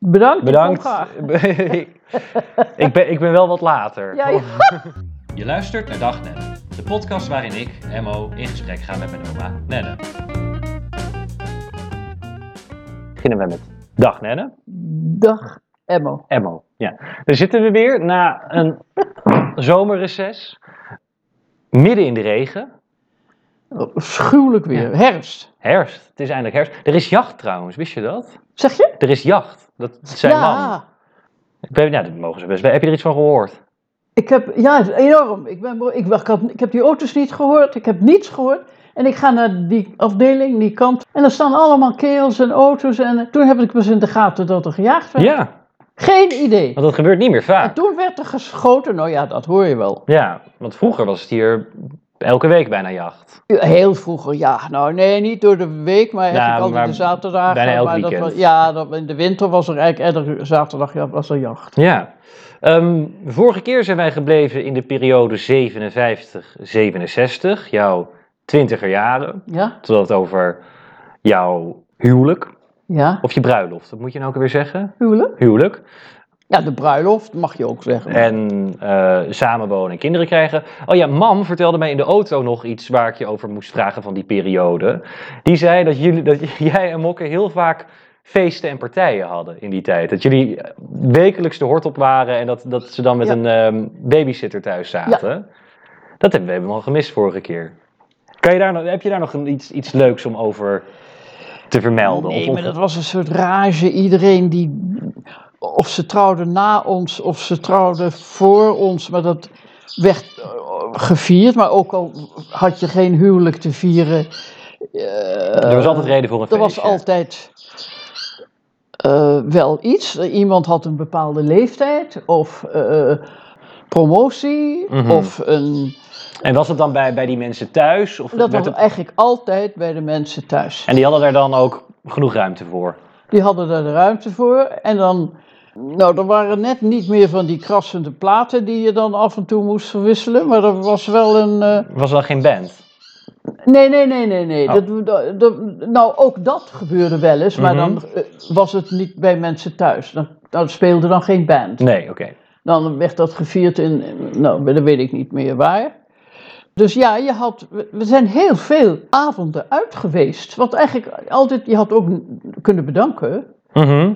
Bedankt. Bedankt. Olga. ik, ben, ik ben wel wat later. Ja, ja. Je luistert naar Dag Nenne, de podcast waarin ik, Emmo, in gesprek ga met mijn oma Nenne. Beginnen we met Dag Nenne, Dag, Emmo. Emmo. Ja. Daar zitten we weer na een zomerreces, midden in de regen. Schuwelijk weer. Herfst. Herfst, het is eindelijk herfst. Er is jacht trouwens, wist je dat? Zeg je? Er is jacht, dat zijn man. Ik ben, nou, dat mogen ze best wel. Heb je er iets van gehoord? Ik heb, ja, het is enorm. Ik, ben, bro- ik, ik, had, ik heb die auto's niet gehoord, ik heb niets gehoord. En ik ga naar die afdeling, die kant. En er staan allemaal kerels en auto's. En eh, toen heb ik pas in de gaten dat er gejaagd werd. Ja, Geen idee. Want dat gebeurt niet meer En vaak. toen werd er geschoten. Nou ja, dat hoor je wel. Ja, want vroeger was het hier elke week bijna jacht. Heel vroeger, ja. Nou, nee, niet door de week, maar eigenlijk Ja, altijd Nou, maar de zaterdag. bijna elk maar dat weekend. was- ja, dat, in de winter was er eigenlijk iedere zaterdag ja, was er jacht. Ja. Ehm, vorige keer zijn wij gebleven in de periode 57-67, jouw twintiger jaren. Ja? Totdat het over jouw huwelijk, Ja? of je bruiloft, dat moet je nou ook weer zeggen. Huwelijk? Huwelijk. Ja, de bruiloft mag je ook zeggen. En eh, samenwonen en kinderen krijgen. Oh ja, mam vertelde mij in de auto nog iets waar ik je over moest vragen van die periode. Die zei dat, jullie, dat jij en Mokke heel vaak feesten en partijen hadden in die tijd. Dat jullie eh, wekelijks de hort op waren en dat, dat ze dan met Ja. een ehm, babysitter thuis zaten. Dat hebben we helemaal gemist vorige keer. Kan je daar nog, heb je daar nog een, iets, iets leuks om over te vermelden? Of- Nee, of- maar dat was een soort rage. Iedereen die. Of ze trouwden na ons, of ze trouwden voor ons. Maar dat werd eh, gevierd. Maar ook al had je geen huwelijk te vieren. eh, er was altijd reden voor een er feestje. was altijd eh, wel iets. Iemand had een bepaalde leeftijd. Of eh, promotie. Mhm. Of een. En was het dan bij, bij die mensen thuis? Of Dat werd was het- eigenlijk altijd bij de mensen thuis. En die hadden daar dan ook genoeg ruimte voor. Die hadden daar de ruimte voor. En dan, nou, er waren net niet meer van die krassende platen die je dan af en toe moest verwisselen. Maar er was wel een. eh, Er was wel geen band. Nee, nee, nee, nee, nee. Oh. Dat, dat- dat- nou, ook dat gebeurde wel eens, maar Mhm. dan eh, was het niet bij mensen thuis. Dan, dan speelde dan geen band. Nee, oké. Dan werd dat gevierd in, nou, dat weet ik niet meer waar. Dus ja, je had, we we zijn heel veel avonden uit geweest. Want eigenlijk altijd, je had ook kunnen bedanken. Mhm.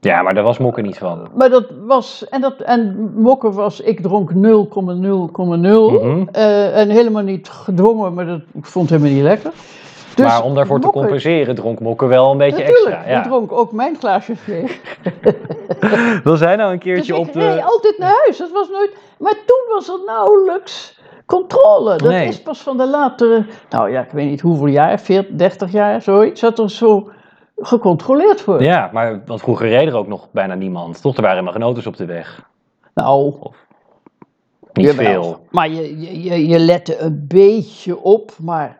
Ja, maar daar was Mokke niet van. Maar dat was, en, dat, en mokken was, ik dronk 0,0,0. Mhm. Eh, en helemaal niet gedwongen, maar dat, ik vond het helemaal niet lekker. Dus maar om daarvoor te mokken- compenseren dronk Mokke wel een beetje Natuurlijk, extra. Ja. ik dronk ook mijn glaasje leeg. Wil zij nou een Dus keertje ik op reed de... altijd naar huis, dat was nooit... Maar toen was er nauwelijks controle. Dat Nee. is pas van de latere, nou ja, ik weet niet hoeveel jaar, 40, 30 jaar, zoiets, dat er zo gecontroleerd wordt. Ja, maar want vroeger reed er ook nog bijna niemand. Toch, er waren helemaal geen auto's op de weg. Nou, Niet Jawel, veel. Maar je, je, je, je lette een beetje op, maar.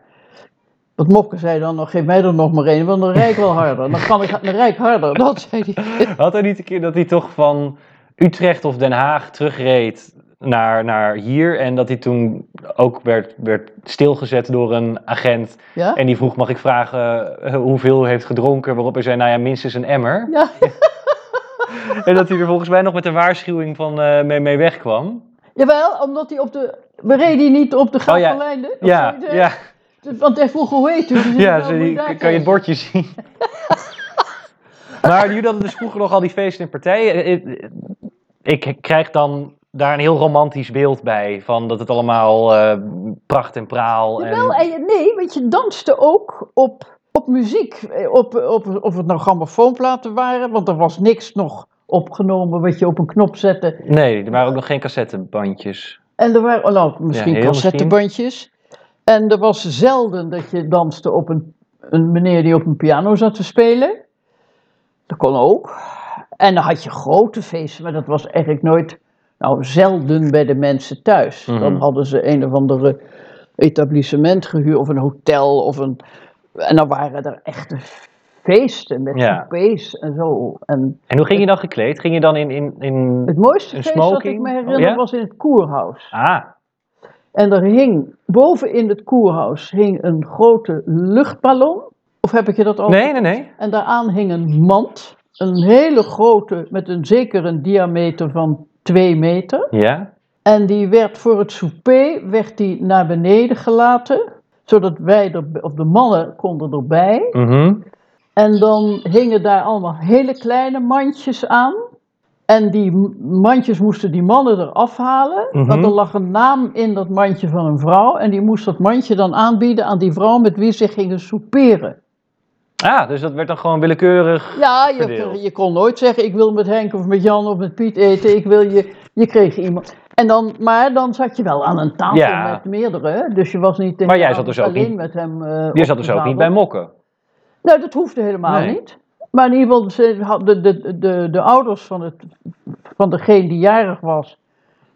Wat mokken zei dan nog? Geef mij er nog maar één, want dan rijd ik wel harder. Dan kan ik dan rijd ik harder. Dat zei hij. Had hij niet een keer dat hij toch van Utrecht of Den Haag terugreed naar, naar hier... en dat hij toen ook werd, werd stilgezet door een agent... Ja? en die vroeg, mag ik vragen eh, hoeveel u heeft gedronken... waarop hij zei, nou ja, minstens een emmer... Ja, En dat hij er volgens mij nog met een waarschuwing van, eh, mee, mee wegkwam. jawel, omdat hij op de. We reden hij niet op de Oh ja. Gravenlijnen. Of Ja, zoiets, hè? ja, Want hij vroeg hoe heet u? Dus ik zei, ja. zo "Nou, moet die- daar kan je kijken." het bordje zien. maar jullie hadden dus vroeger nog al die feesten en partijen. Ik- Ik krijg dan daar een heel romantisch beeld bij. Van dat het allemaal eh, pracht en praal. Jawel, En... en je- nee, want je danste ook op, op muziek. Eh, Op, op, of het nou grammofoonplaten waren, want er was niks nog opgenomen wat je op een knop zette. Nee, er waren ook nog geen cassettebandjes. En er waren nou, misschien heel cassettebandjes. En er was zelden dat je danste op een, een meneer die op een piano zat te spelen. Dat kon ook. En dan had je grote feesten, maar dat was eigenlijk nooit, nou zelden bij de mensen thuis. Mhm. Dan hadden ze een of andere etablissement gehuurd of een hotel of een... En dan waren er echte feesten met Ja. coupés en zo. En En hoe ging je dan gekleed? Ging je dan in... in, in... het mooiste Een feest dat ik smoking? me Oh, herinner ja? was in het Koerhuis. Ah, En er hing, boven in het koerhuis, hing een grote luchtballon. Of heb ik je dat al? nee, nee, nee. En daaraan hing een mand. een hele grote, met een zeker een diameter van 2 meter. Ja? En die werd voor het souper werd die naar beneden gelaten, zodat wij er, of de mannen konden erbij. Mhm. En dan hingen daar allemaal hele kleine mandjes aan. En die m- mandjes moesten die mannen eraf halen. Mhm. Want er lag een naam in dat mandje van een vrouw. En die moest dat mandje dan aanbieden aan die vrouw met wie ze gingen souperen. Ah, dus dat werd dan gewoon willekeurig. Ja, je, Verdeeld. je kon nooit zeggen: ik wil met Henk of met Jan of met Piet eten. Ik wil je. Je kreeg iemand. En dan, maar dan zat je wel aan een tafel Ja. met meerdere. Dus je was niet de Maar hele jij zat dus avond ook alleen niet- met hem. eh, Je zat dus ook opgezadeld. niet bij mokken. Nou, dat hoefde helemaal Nee. niet. Maar in ieder geval, ze had- de, de, de, de ouders van, het, van degene die jarig was,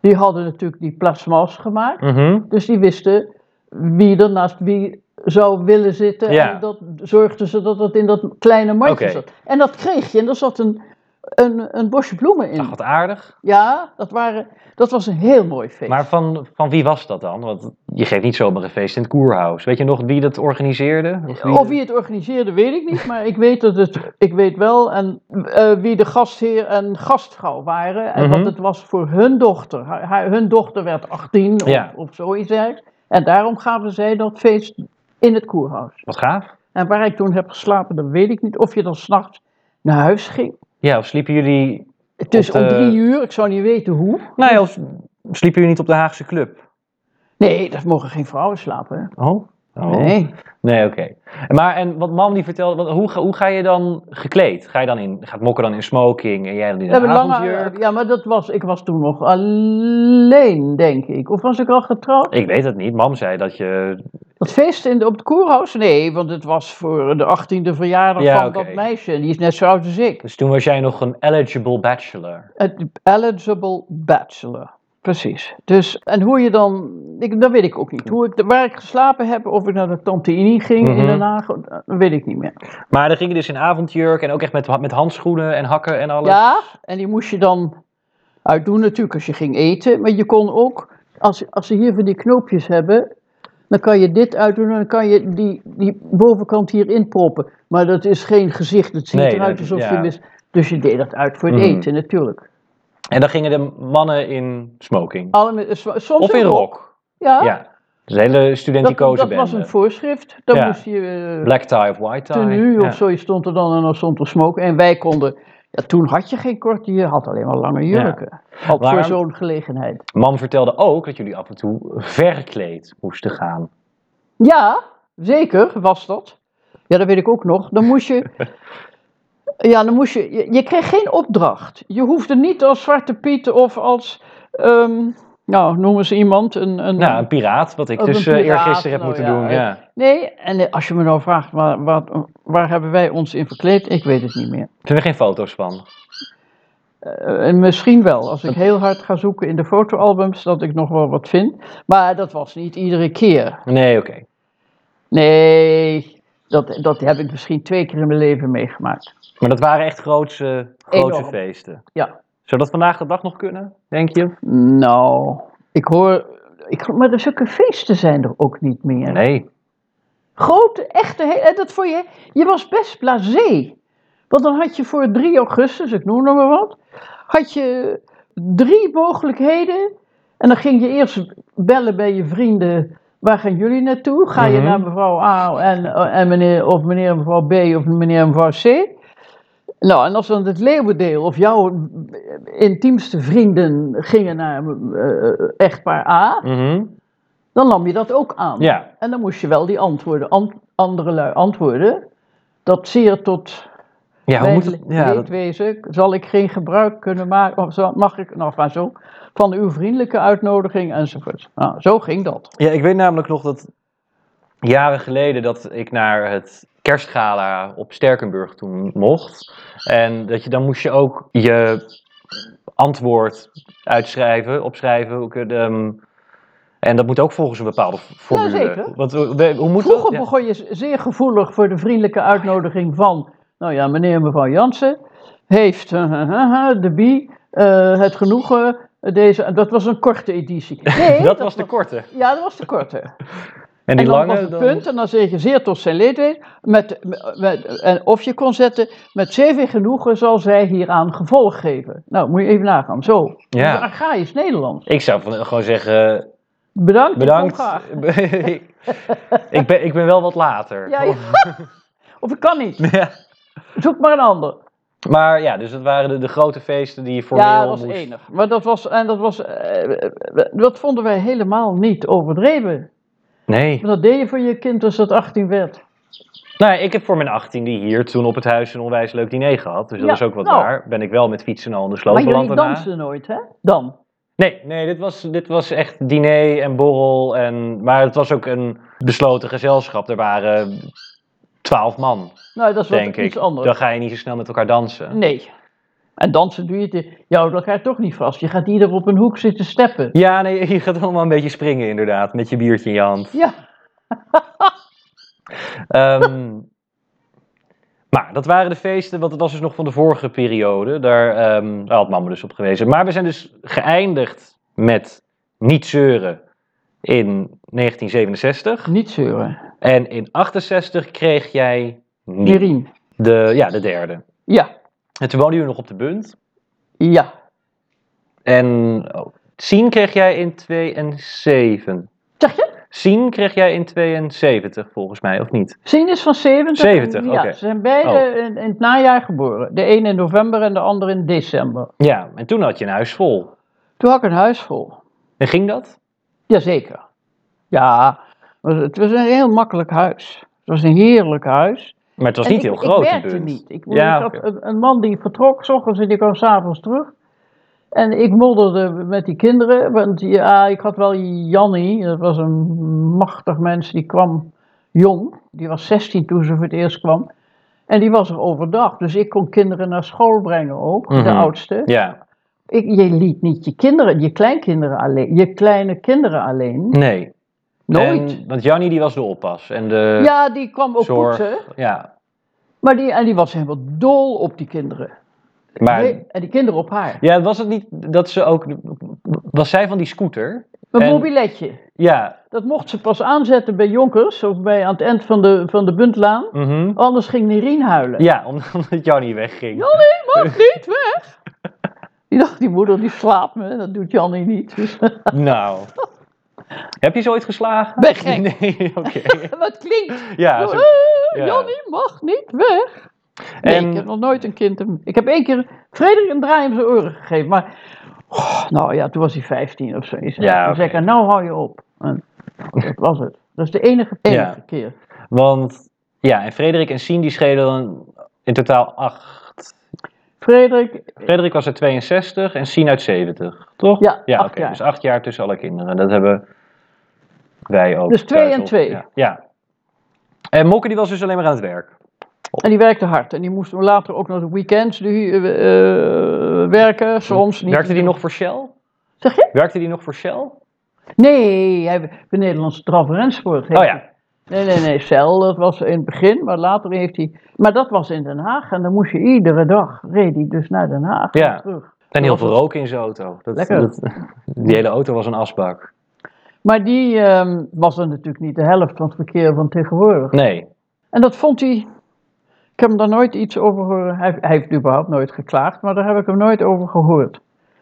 die hadden natuurlijk die plasmas gemaakt. Mhm. Dus die wisten wie er naast wie zou willen zitten. Ja. En dat zorgden ze dat dat in dat kleine mandje Oké. zat. En dat kreeg je. En daar zat een, een, een bosje bloemen in. Ach, wat aardig. Ja, dat, waren, dat was een heel mooi feest. Maar van, van wie was dat dan? Want je geeft niet zomaar een feest in het koerhuis. Weet je nog wie dat organiseerde? Of wie het organiseerde, weet ik niet. Maar ik weet dat het. Ik weet wel en, eh, wie de gastheer en gastvrouw waren. En Mhm. Want het was voor hun dochter. Haar, haar- hun dochter werd 18 of, Ja. of zoiets. ergs. En daarom gaven zij dat feest in het koerhuis. Wat gaaf. En waar ik toen heb geslapen, dat weet ik niet. Of je dan s'nachts naar huis ging. Ja, of sliepen jullie... Het is Op de- om drie uur, ik zou niet weten hoe. Nou ja, of sliepen jullie niet op de Haagse Club? Nee, daar mogen geen vrouwen slapen. Oh? oh. hè. Nee. Nee, oké. Maar en wat Mam die vertelde, wat- hoe, ga- hoe ga je dan gekleed? Ga je dan in, gaat Mokker dan in smoking en jij dan in We een hebben avondjurk? lange, ja, maar dat was, ik was toen nog alleen, denk ik. Of was ik al getrouwd? Ik weet het niet. Mam zei dat je... Dat feest in de, op het koerhuis? Nee, want het was voor de 18e verjaardag Ja, van oké. dat meisje. En Die is net zo oud als ik. Dus toen was jij nog een eligible bachelor. Het eligible bachelor. Precies. Dus, en hoe je dan, ik, dat weet ik ook niet. Hoe ik, waar ik geslapen heb, of ik naar de Tante Inie ging Mhm. in Den Haag, eh, dat weet ik niet meer. Maar dan ging je dus in avondjurk en ook echt met, met handschoenen en hakken en alles. Ja, en die moest je dan uitdoen natuurlijk als je ging eten. Maar je kon ook, als, als ze hier van die knoopjes hebben, dan kan je dit uitdoen en dan kan je die, die bovenkant hier inproppen. Maar dat is geen gezicht, het ziet Nee, eruit dat- alsof ja. je mis... Dus je deed dat uit voor het Mhm. eten natuurlijk. En dan gingen de mannen in smoking. Alle, me- eh, s- soms Of in een rok. Oh, Ja, Ja. Dus de hele dat, studenticoze dat bende. was een voorschrift. Dan Ja. moest je... eh, Black tie of white tie. tenue Ja. of zo, je stond er dan en dan stond er smoke. En wij konden, ja, toen had je geen korte, je had alleen maar lange jurken. Al Maar- voor zo'n gelegenheid. Mam vertelde ook dat jullie af en toe verkleed moesten gaan. Ja, zeker was dat. Ja, dat weet ik ook nog. Dan moest je. ja, dan moest je, je. Je kreeg geen opdracht. Je hoefde niet als Zwarte Piet of als. ehm, nou, noem eens iemand. Een, een, Nou, een piraat, wat ik Ook dus een eh, piraat, eergisteren heb nou moeten ja, doen. eh, Ja. Nee, en eh, als je me nou vraagt waar, waar, waar hebben wij ons in verkleed, ik weet het niet meer. Er zijn er geen foto's van. Eh, en misschien wel, als ik heel hard ga zoeken in de fotoalbums, dat ik nog wel wat vind. Maar dat was niet iedere keer. Nee, oké. Nee, dat, dat heb ik misschien twee keer in mijn leven meegemaakt. Maar dat waren echt grootse, grootse Enorm. feesten. Ja. Zou dat vandaag de dag nog kunnen, denk je? Nou, ik hoor. Ik, geloof- maar zulke feesten zijn er ook niet meer. Nee. Grote, echte. he- En dat voor je. Je was best blasé. Want dan had je voor 3 augustus, ik noem nog maar wat. Had je drie mogelijkheden. En dan ging je eerst bellen bij je vrienden. Waar gaan jullie naartoe? Ga je Mhm. naar mevrouw A en, eh, en meneer, of meneer en mevrouw B of meneer en mevrouw C? Nou, en als dan het leeuwendeel of jouw intiemste vrienden gingen naar eh, echtpaar A, Mhm. dan nam je dat ook aan. Ja. En dan moest je wel die antwoorden, ant- andere lui antwoorden. Dat zeer tot Ja, hoe mijn moet het? Ja, dat- leedwezen zal ik geen gebruik kunnen maken, of zal- mag ik, nou, maar zo, van uw vriendelijke uitnodiging enzovoort. Nou, zo ging dat. Ja, ik weet namelijk nog dat jaren geleden dat ik naar het kerstgala op Sterkenburg toen mocht. En dat je dan moest je ook je antwoord uitschrijven, opschrijven. Ook, eh, de, ehm, en dat moet ook volgens een bepaalde formule. Jazeker. Want, eh, we- hoe moet Vroeger dat? Ja. begon je z- zeer gevoelig voor de vriendelijke uitnodiging van, nou ja, meneer en mevrouw Jansen heeft eh, de bi eh, het genoegen, deze, dat was een korte editie. Nee, dat was de korte. Ja, dat was de korte. En En die dan lange was het dan- punt, en dan zeg je zeer tot zijn leedwezen, met, met, en of je kon zetten, met zeven genoegen zal zij hieraan gevolg geven. Nou, moet je even nagaan, zo. Ja. Dat is archaïs Nederlands. Ik zou van- gewoon zeggen, Bedankt, bedankt. Ik kom graag. ik, ben, ik ben wel wat later. Ja, ja. Of ik kan niet, Ja. zoek maar een ander. Maar ja, dus dat waren de, de grote feesten die je formeel ja, dat was moest... enig. Maar dat was, en dat was, eh, dat vonden wij helemaal niet overdreven. Nee. Dat deed je voor je kind als dat 18 werd. Nou, ik heb voor mijn 18e hier toen op het huis een onwijs leuk diner gehad. Dus dat Ja, is ook wat nou. waar. Ben ik wel met fietsen al in de sloot Maar beland jullie daarna. dansten nooit, hè? Dan. Nee, nee dit, was, dit was echt diner en borrel. En, maar het was ook een besloten gezelschap. Er waren twaalf man, Nou, dat is denk wat ik. iets anders. Dan ga je niet zo snel met elkaar dansen. Nee. En dansen doe je het. Je houdt elkaar toch niet vast. Je gaat ieder op een hoek zitten steppen. Ja, nee, je gaat allemaal een beetje springen inderdaad. Met je biertje in je hand. Ja, Ehm, maar dat waren de feesten, want het was dus nog van de vorige periode. Daar, ehm, daar had mama dus op gewezen. Maar we zijn dus geëindigd met niet zeuren in 1967. niet zeuren. En in 68 kreeg jij niet. Nirien. De, ja, de derde. Ja, En toen woonde je nog op de Bunt. ja. En oh, Sien kreeg jij in 72. Zeg je? Sien kreeg jij in 72 volgens mij, of niet? Sien is van 70. 70, ja, oké. Ze zijn beide Oh. in, in het najaar geboren. De een in november en de ander in december. Ja, en toen had je een huis vol. Toen had ik een huis vol. En ging dat? Jazeker. Ja, maar het was een heel makkelijk huis. Het was een heerlijk huis. Maar het was En niet ik- heel groot, Ik die werkte bund. niet. Ik, Ja, ik had oké. een, een man die vertrok, s ochtends en die kwam s'avonds terug. En ik modderde met die kinderen, want ja, ik had wel Jannie, dat was een machtig mens, die kwam jong. Die was 16 toen ze voor het eerst kwam. En die was er overdag, dus ik kon kinderen naar school brengen ook, Mhm. de oudste. Ja, Ik, je liet niet je kinderen, je kleinkinderen alleen, je kleine kinderen alleen. nee. Nooit. En- want Jannie die was de oppas. En de, Ja, die kwam ook eh, zorg. poetsen. ja. Maar die, en die was helemaal dol op die kinderen. Maar Nee, en die kinderen op haar. ja, was het niet dat ze ook... Was zij van die scooter? Een en- mobiletje. Ja. Dat mocht ze pas aanzetten bij Jonkers of bij, aan het eind van de, van de Buntlaan. mhm. Anders ging Nerien huilen. Ja, omdat Jannie wegging. Jannie mag niet weg. Die dacht, die moeder die slaapt me. Dat doet Jannie niet. Dus, Nou. Heb je ze ooit geslagen? Ben gek. Nee, oké. wat klinkt. Ja, zo- Eh, ja. Jannie mag niet weg. Nee, En- ik heb nog nooit een kind. een- Ik heb één keer Frederik een draai om zijn oren gegeven. Maar oh, nou ja, toen was hij 15 of zo. Ja, Ja, Toen zei ik, nou hou je op. En dat was het. Dat is de enige, enige Ja. keer. want ja, en Frederik en Sien die schelen dan in totaal acht. Frederik, Frederik was uit 62 en Sien uit 70, toch? Ja, ja acht oké, jaar. Dus acht jaar tussen alle kinderen. Dat hebben wij ook. Dus twee thuis en op- twee. Ja. ja. En Mokke die was dus alleen maar aan het werk. Oh. en die werkte hard. En die moest later ook nog de weekends die, eh, eh, werken, soms niet. Hm. Werkte die nog voor Shell? Zeg je? Werkte die nog voor Shell? Nee, hij de Nederlandse draf en rensport. heeft Oh ja. Nee, nee, nee, cel, dat was in het begin, maar later heeft hij... Maar dat was in Den Haag en dan moest je iedere dag, reed hij dus naar Den Haag en Ja. terug. En heel veel rook in zijn auto. Dat, Lekker. dat- die hele auto was een asbak. Maar die ehm, was dan natuurlijk niet de helft van het verkeer van tegenwoordig. Nee. En dat vond hij... Ik heb hem daar nooit iets over gehoord. Hij, hij heeft überhaupt nooit geklaagd, maar daar heb ik hem nooit over gehoord.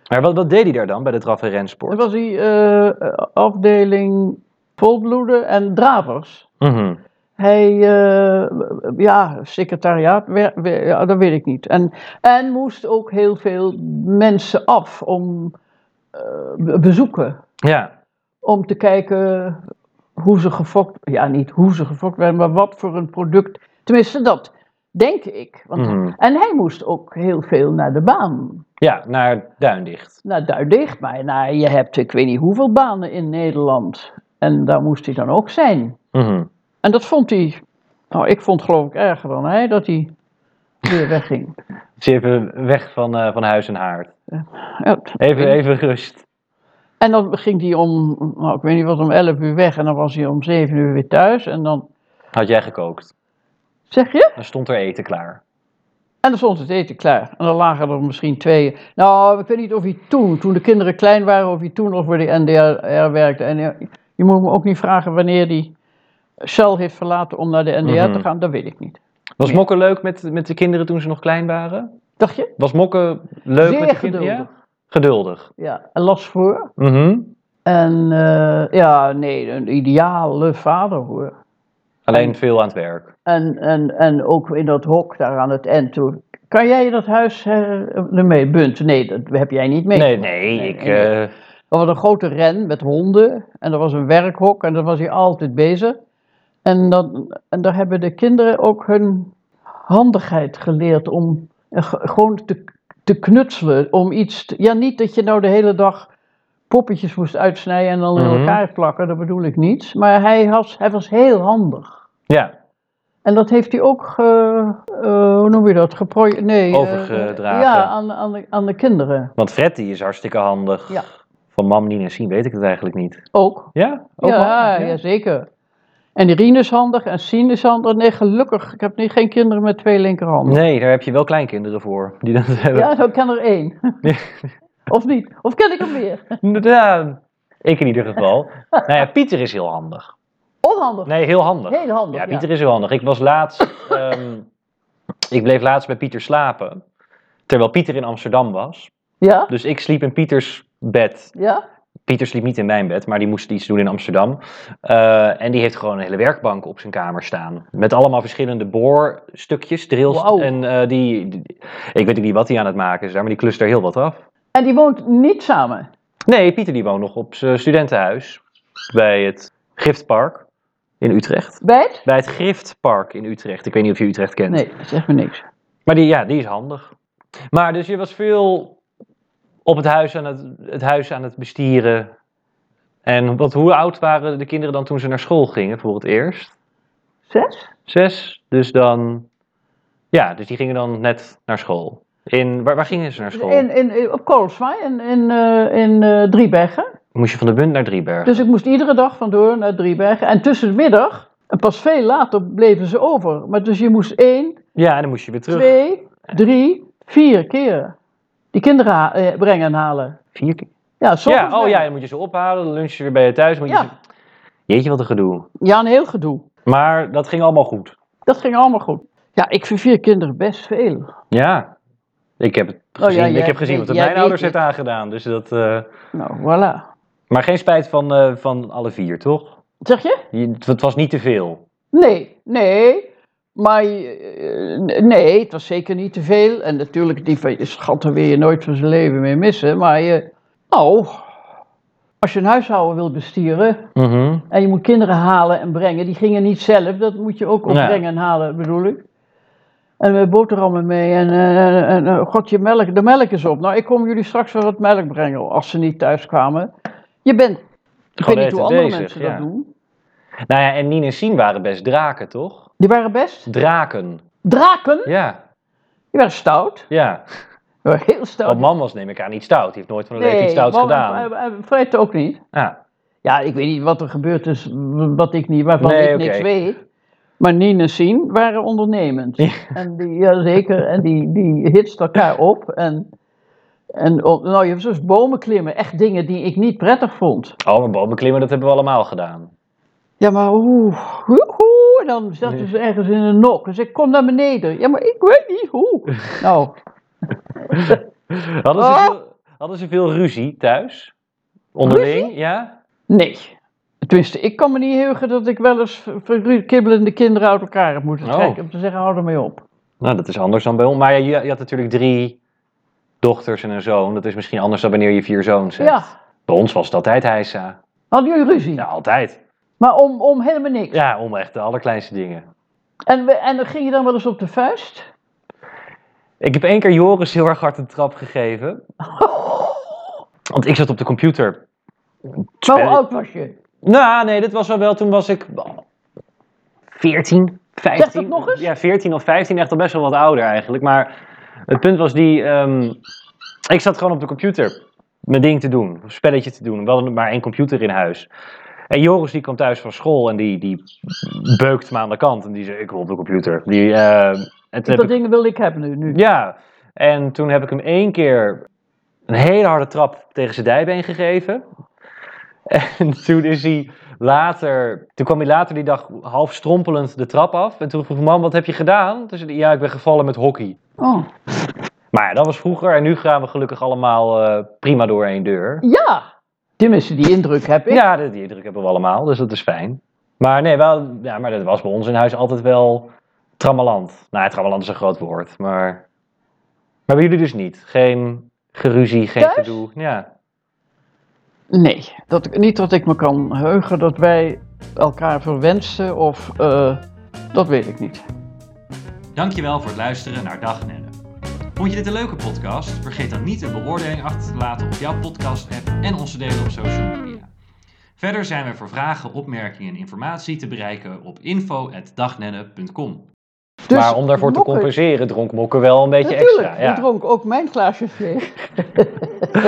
Maar wat, wat deed hij daar dan bij de draf- en Er rensport? was die eh, afdeling volbloeden en dravers. Mhm. Hij, eh, ja, secretariaat, wer- wer- ja, dat weet ik niet. En, en moest ook heel veel mensen af om eh, be- bezoeken. Ja. Om te kijken hoe ze gefokt, ja niet hoe ze gefokt werden, maar wat voor een product. Tenminste dat, denk ik. Want, Mhm. En hij moest ook heel veel naar de baan. ja, naar Duindicht. Naar Duitdicht, maar naar, Nou, je hebt ik weet niet hoeveel banen in Nederland. En daar moest hij dan ook zijn. Mhm. En dat vond hij, nou ik vond het geloof ik erger dan hij, dat hij weer wegging. Dus even weg van, eh, van huis en haard. Ja, Even, even rust. En dan ging hij om, nou ik weet niet wat, om 11 uur weg en dan was hij om 7 uur weer thuis. En dan Had jij gekookt. zeg je, Dan stond er eten klaar. en dan stond het eten klaar. En dan lagen er misschien twee. Nou, ik weet niet of hij toen, toen de eh, kinderen klein waren, of hij toen nog voor de NDR werkte. En ja, je moet me ook niet vragen wanneer hij Shell heeft verlaten om naar de NDR Mhm. te gaan, dat weet ik niet. Was Ja. Mokke leuk met, met de kinderen toen ze nog klein waren? Dacht je? Was Mokke leuk Zeer met de kinderen? Ja? geduldig. Geduldig. Ja, en las voor. Mhm. En eh, ja, nee, een ideale vader hoor. Alleen veel aan het werk. En, en, en ook in dat hok daar aan het eind toe. Kan jij dat huis eh, ermee bunt? Nee, dat heb jij niet mee. Nee, nee, ik... nee, nee. eh, Er was een grote ren met honden en er was een werkhok en daar was hij altijd bezig. En, dan, en daar hebben de kinderen ook hun handigheid geleerd om eh, ge- gewoon te, te knutselen. Om iets te- ja, niet dat je nou de hele dag poppetjes moest uitsnijden en dan Mhm. in elkaar plakken, dat bedoel ik niet. Maar hij was, hij was heel handig. ja, En dat heeft hij ook, ge- eh, hoe noem je dat, geproj- nee, eh, Overgedragen. ja, aan, aan, de, aan de kinderen want Fred die is hartstikke handig. Ja. Van mam, Nien en Sien weet ik het eigenlijk niet. ook. Ja? Ook ja, wel? ja, zeker. En Rien is handig en Sien is handig. Nee, gelukkig. Ik heb nu geen kinderen met twee linkerhanden. Nee, daar heb je wel kleinkinderen voor. Die dat hebben. Ja, nou, ik ken er één. Ja. of niet? Of ken ik er meer? Ja, ik in ieder geval. nou ja, Pieter is heel handig. Onhandig. Nee, heel handig. Heel handig. Ja, Ja, Pieter is heel handig. Ik was laatst... ehm, ik bleef laatst bij Pieter slapen. Terwijl Pieter in Amsterdam was. ja? Dus ik sliep in Pieters bed. Ja? Pieter sliep niet in mijn bed, maar die moest iets doen in Amsterdam. Eh, en die heeft gewoon een hele werkbank op zijn kamer staan. Met allemaal verschillende boorstukjes, drills. Wauw. En eh, die, die- ik weet ook niet wat hij aan het maken is daar, maar die klust er heel wat af. En die woont niet samen. Nee, Pieter die woont nog op zijn studentenhuis bij het Griftpark in Utrecht. Bij het? Bij het Griftpark in Utrecht. Ik weet niet of je Utrecht kent. Nee, dat zegt me niks. Maar die, ja, die is handig. Maar dus je was veel op het huis aan het, het, huis aan het bestieren. En wat, hoe oud waren de kinderen dan toen ze naar school gingen voor het eerst? Zes? Zes. Dus dan. Ja, dus die gingen dan net naar school. In, waar, waar gingen ze naar school? In, in, in- op Koolswaai in, in, eh, in eh, Driebergen. Moest je van de Bund naar Driebergen? Dus ik moest iedere dag vandoor naar Driebergen. En tussen de middag, en pas veel later, bleven ze over. Maar dus je moest één, ja, en dan moest je weer terug. twee, drie, vier keer die kinderen ha- eh, brengen en halen. Vier keer. Ja, soms Ja, oh ja, dan moet je ze ophalen, dan lunch je weer bij je thuis. Moet je Ja. ze- Jeetje, wat een gedoe. ja, een heel gedoe. Maar dat ging allemaal goed. Dat ging allemaal goed. Ja, ik vind vier kinderen best veel. Ja, ik heb, het Oh, ja, gezien, ik jij- heb gezien jij- wat het jij mijn ouders weet heeft aangedaan. Dus dat, eh, Nou, voilà. maar geen spijt van, eh, van alle vier, toch? Zeg je? Je- het- Het was niet te veel. Nee, nee. Maar eh, nee, het was zeker niet te veel. En natuurlijk, die van je schat, daar wil je nooit van zijn leven meer missen. Maar je, nou, als je een huishouden wil bestieren, Mhm. En je moet kinderen halen en brengen. Die gingen niet zelf, dat moet je ook Ja. opbrengen en halen, bedoel ik. En we boterhammen mee en, eh, en eh, god, je melk, de melk is op. Nou, ik kom jullie straks wel wat melk brengen als ze niet thuis kwamen. Je bent, ik Gewoon weet niet de hoe hele tijd andere bezig, mensen ja. dat doen. Nou ja, en Nien en Sien waren best draken, toch? Die waren best Draken. draken, Ja, die waren stout. ja. Die waren heel stout. Want mam was neem ik aan niet stout. Oh, Die heeft nooit van een leven iets stouts man- gedaan. eh, eh, Fred ook niet. Ja. Ja, ik weet niet wat er gebeurd is, w- wat ik niet, waarvan Nee, ik oké. niks weet. Maar Nien en Sien waren ondernemend. Ja. En die, ja zeker, en die, die hitst elkaar op. En, en op- nou, je hebt zoals bomen klimmen, echt dingen die ik niet prettig vond. Oh, maar bomen klimmen, dat hebben we allemaal gedaan. Ja, maar hoe, hoe, hoe? En dan zaten ze ergens in een nok. Dus ik kom naar beneden. Ja, maar ik weet niet hoe. Nou, Hadden ze, Oh. veel, hadden ze veel ruzie thuis? Onderling, ja? nee. Tenminste, ik kan me niet heugen dat ik wel eens ver- ver- kibbelende kinderen uit elkaar heb moeten Oh. trekken. Om te zeggen, hou er mee op. Nou, dat is anders dan bij ons. Maar ja, je, je had natuurlijk drie dochters en een zoon. Dat is misschien anders dan wanneer je vier zoons hebt. Ja. Bij ons was het altijd hijsa. Hadden jullie ruzie? Ja, altijd. Maar om, om helemaal niks. Ja, om echt de allerkleinste dingen. En, we, en dan ging je dan wel eens op de vuist? Ik heb één keer Joris heel erg hard een trap gegeven. Want ik zat op de computer. Maar Spel- hoe oud was je? Nou, nee, dit was wel wel. Toen was ik 14, 15. Zeg dat nog eens? Ja, 14 of 15. Echt al best wel wat ouder eigenlijk. Maar het punt was die... ehm, ik zat gewoon op de computer mijn ding te doen. Een spelletje te doen. We hadden maar één computer in huis. En Joris die kwam thuis van school en die, die beukt me aan de kant. En die zei, ik wil op de computer. Die, eh, en toen heb Dat ik- dingen wilde ik hebben nu. nu. ja, en toen heb ik hem één keer een hele harde trap tegen zijn dijbeen gegeven. En toen is hij later, toen kwam hij later die dag half strompelend de trap af. En toen vroeg mam, wat heb je gedaan? Toen zei hij, ja, ik ben gevallen met hockey. Oh. Maar ja, dat was vroeger en nu gaan we gelukkig allemaal eh, prima door één deur. Ja, tenminste, die indruk heb ik. Ja, die die indruk hebben we allemaal, dus dat is fijn. Maar nee, wel, ja, maar dat was bij ons in huis altijd wel trammeland. Nou, ja, trammeland is een groot woord, maar... Maar bij jullie dus niet. Geen geruzie, geen Thuis? gedoe. Ja. Nee, dat, ik- niet dat ik me kan heugen dat wij elkaar verwensen of eh, dat weet ik niet. Dankjewel voor het luisteren naar Dag Nenne. Vond je dit een leuke podcast? Vergeet dan niet een beoordeling achter te laten op jouw podcast-app en ons te delen op social media. Verder zijn we voor vragen, opmerkingen en informatie te bereiken op info.dagnenne.com. Dus maar om daarvoor te Mokker- compenseren dronk Mokker wel een beetje Natuurlijk, extra. Ja. die dronk ook mijn glaasje thee.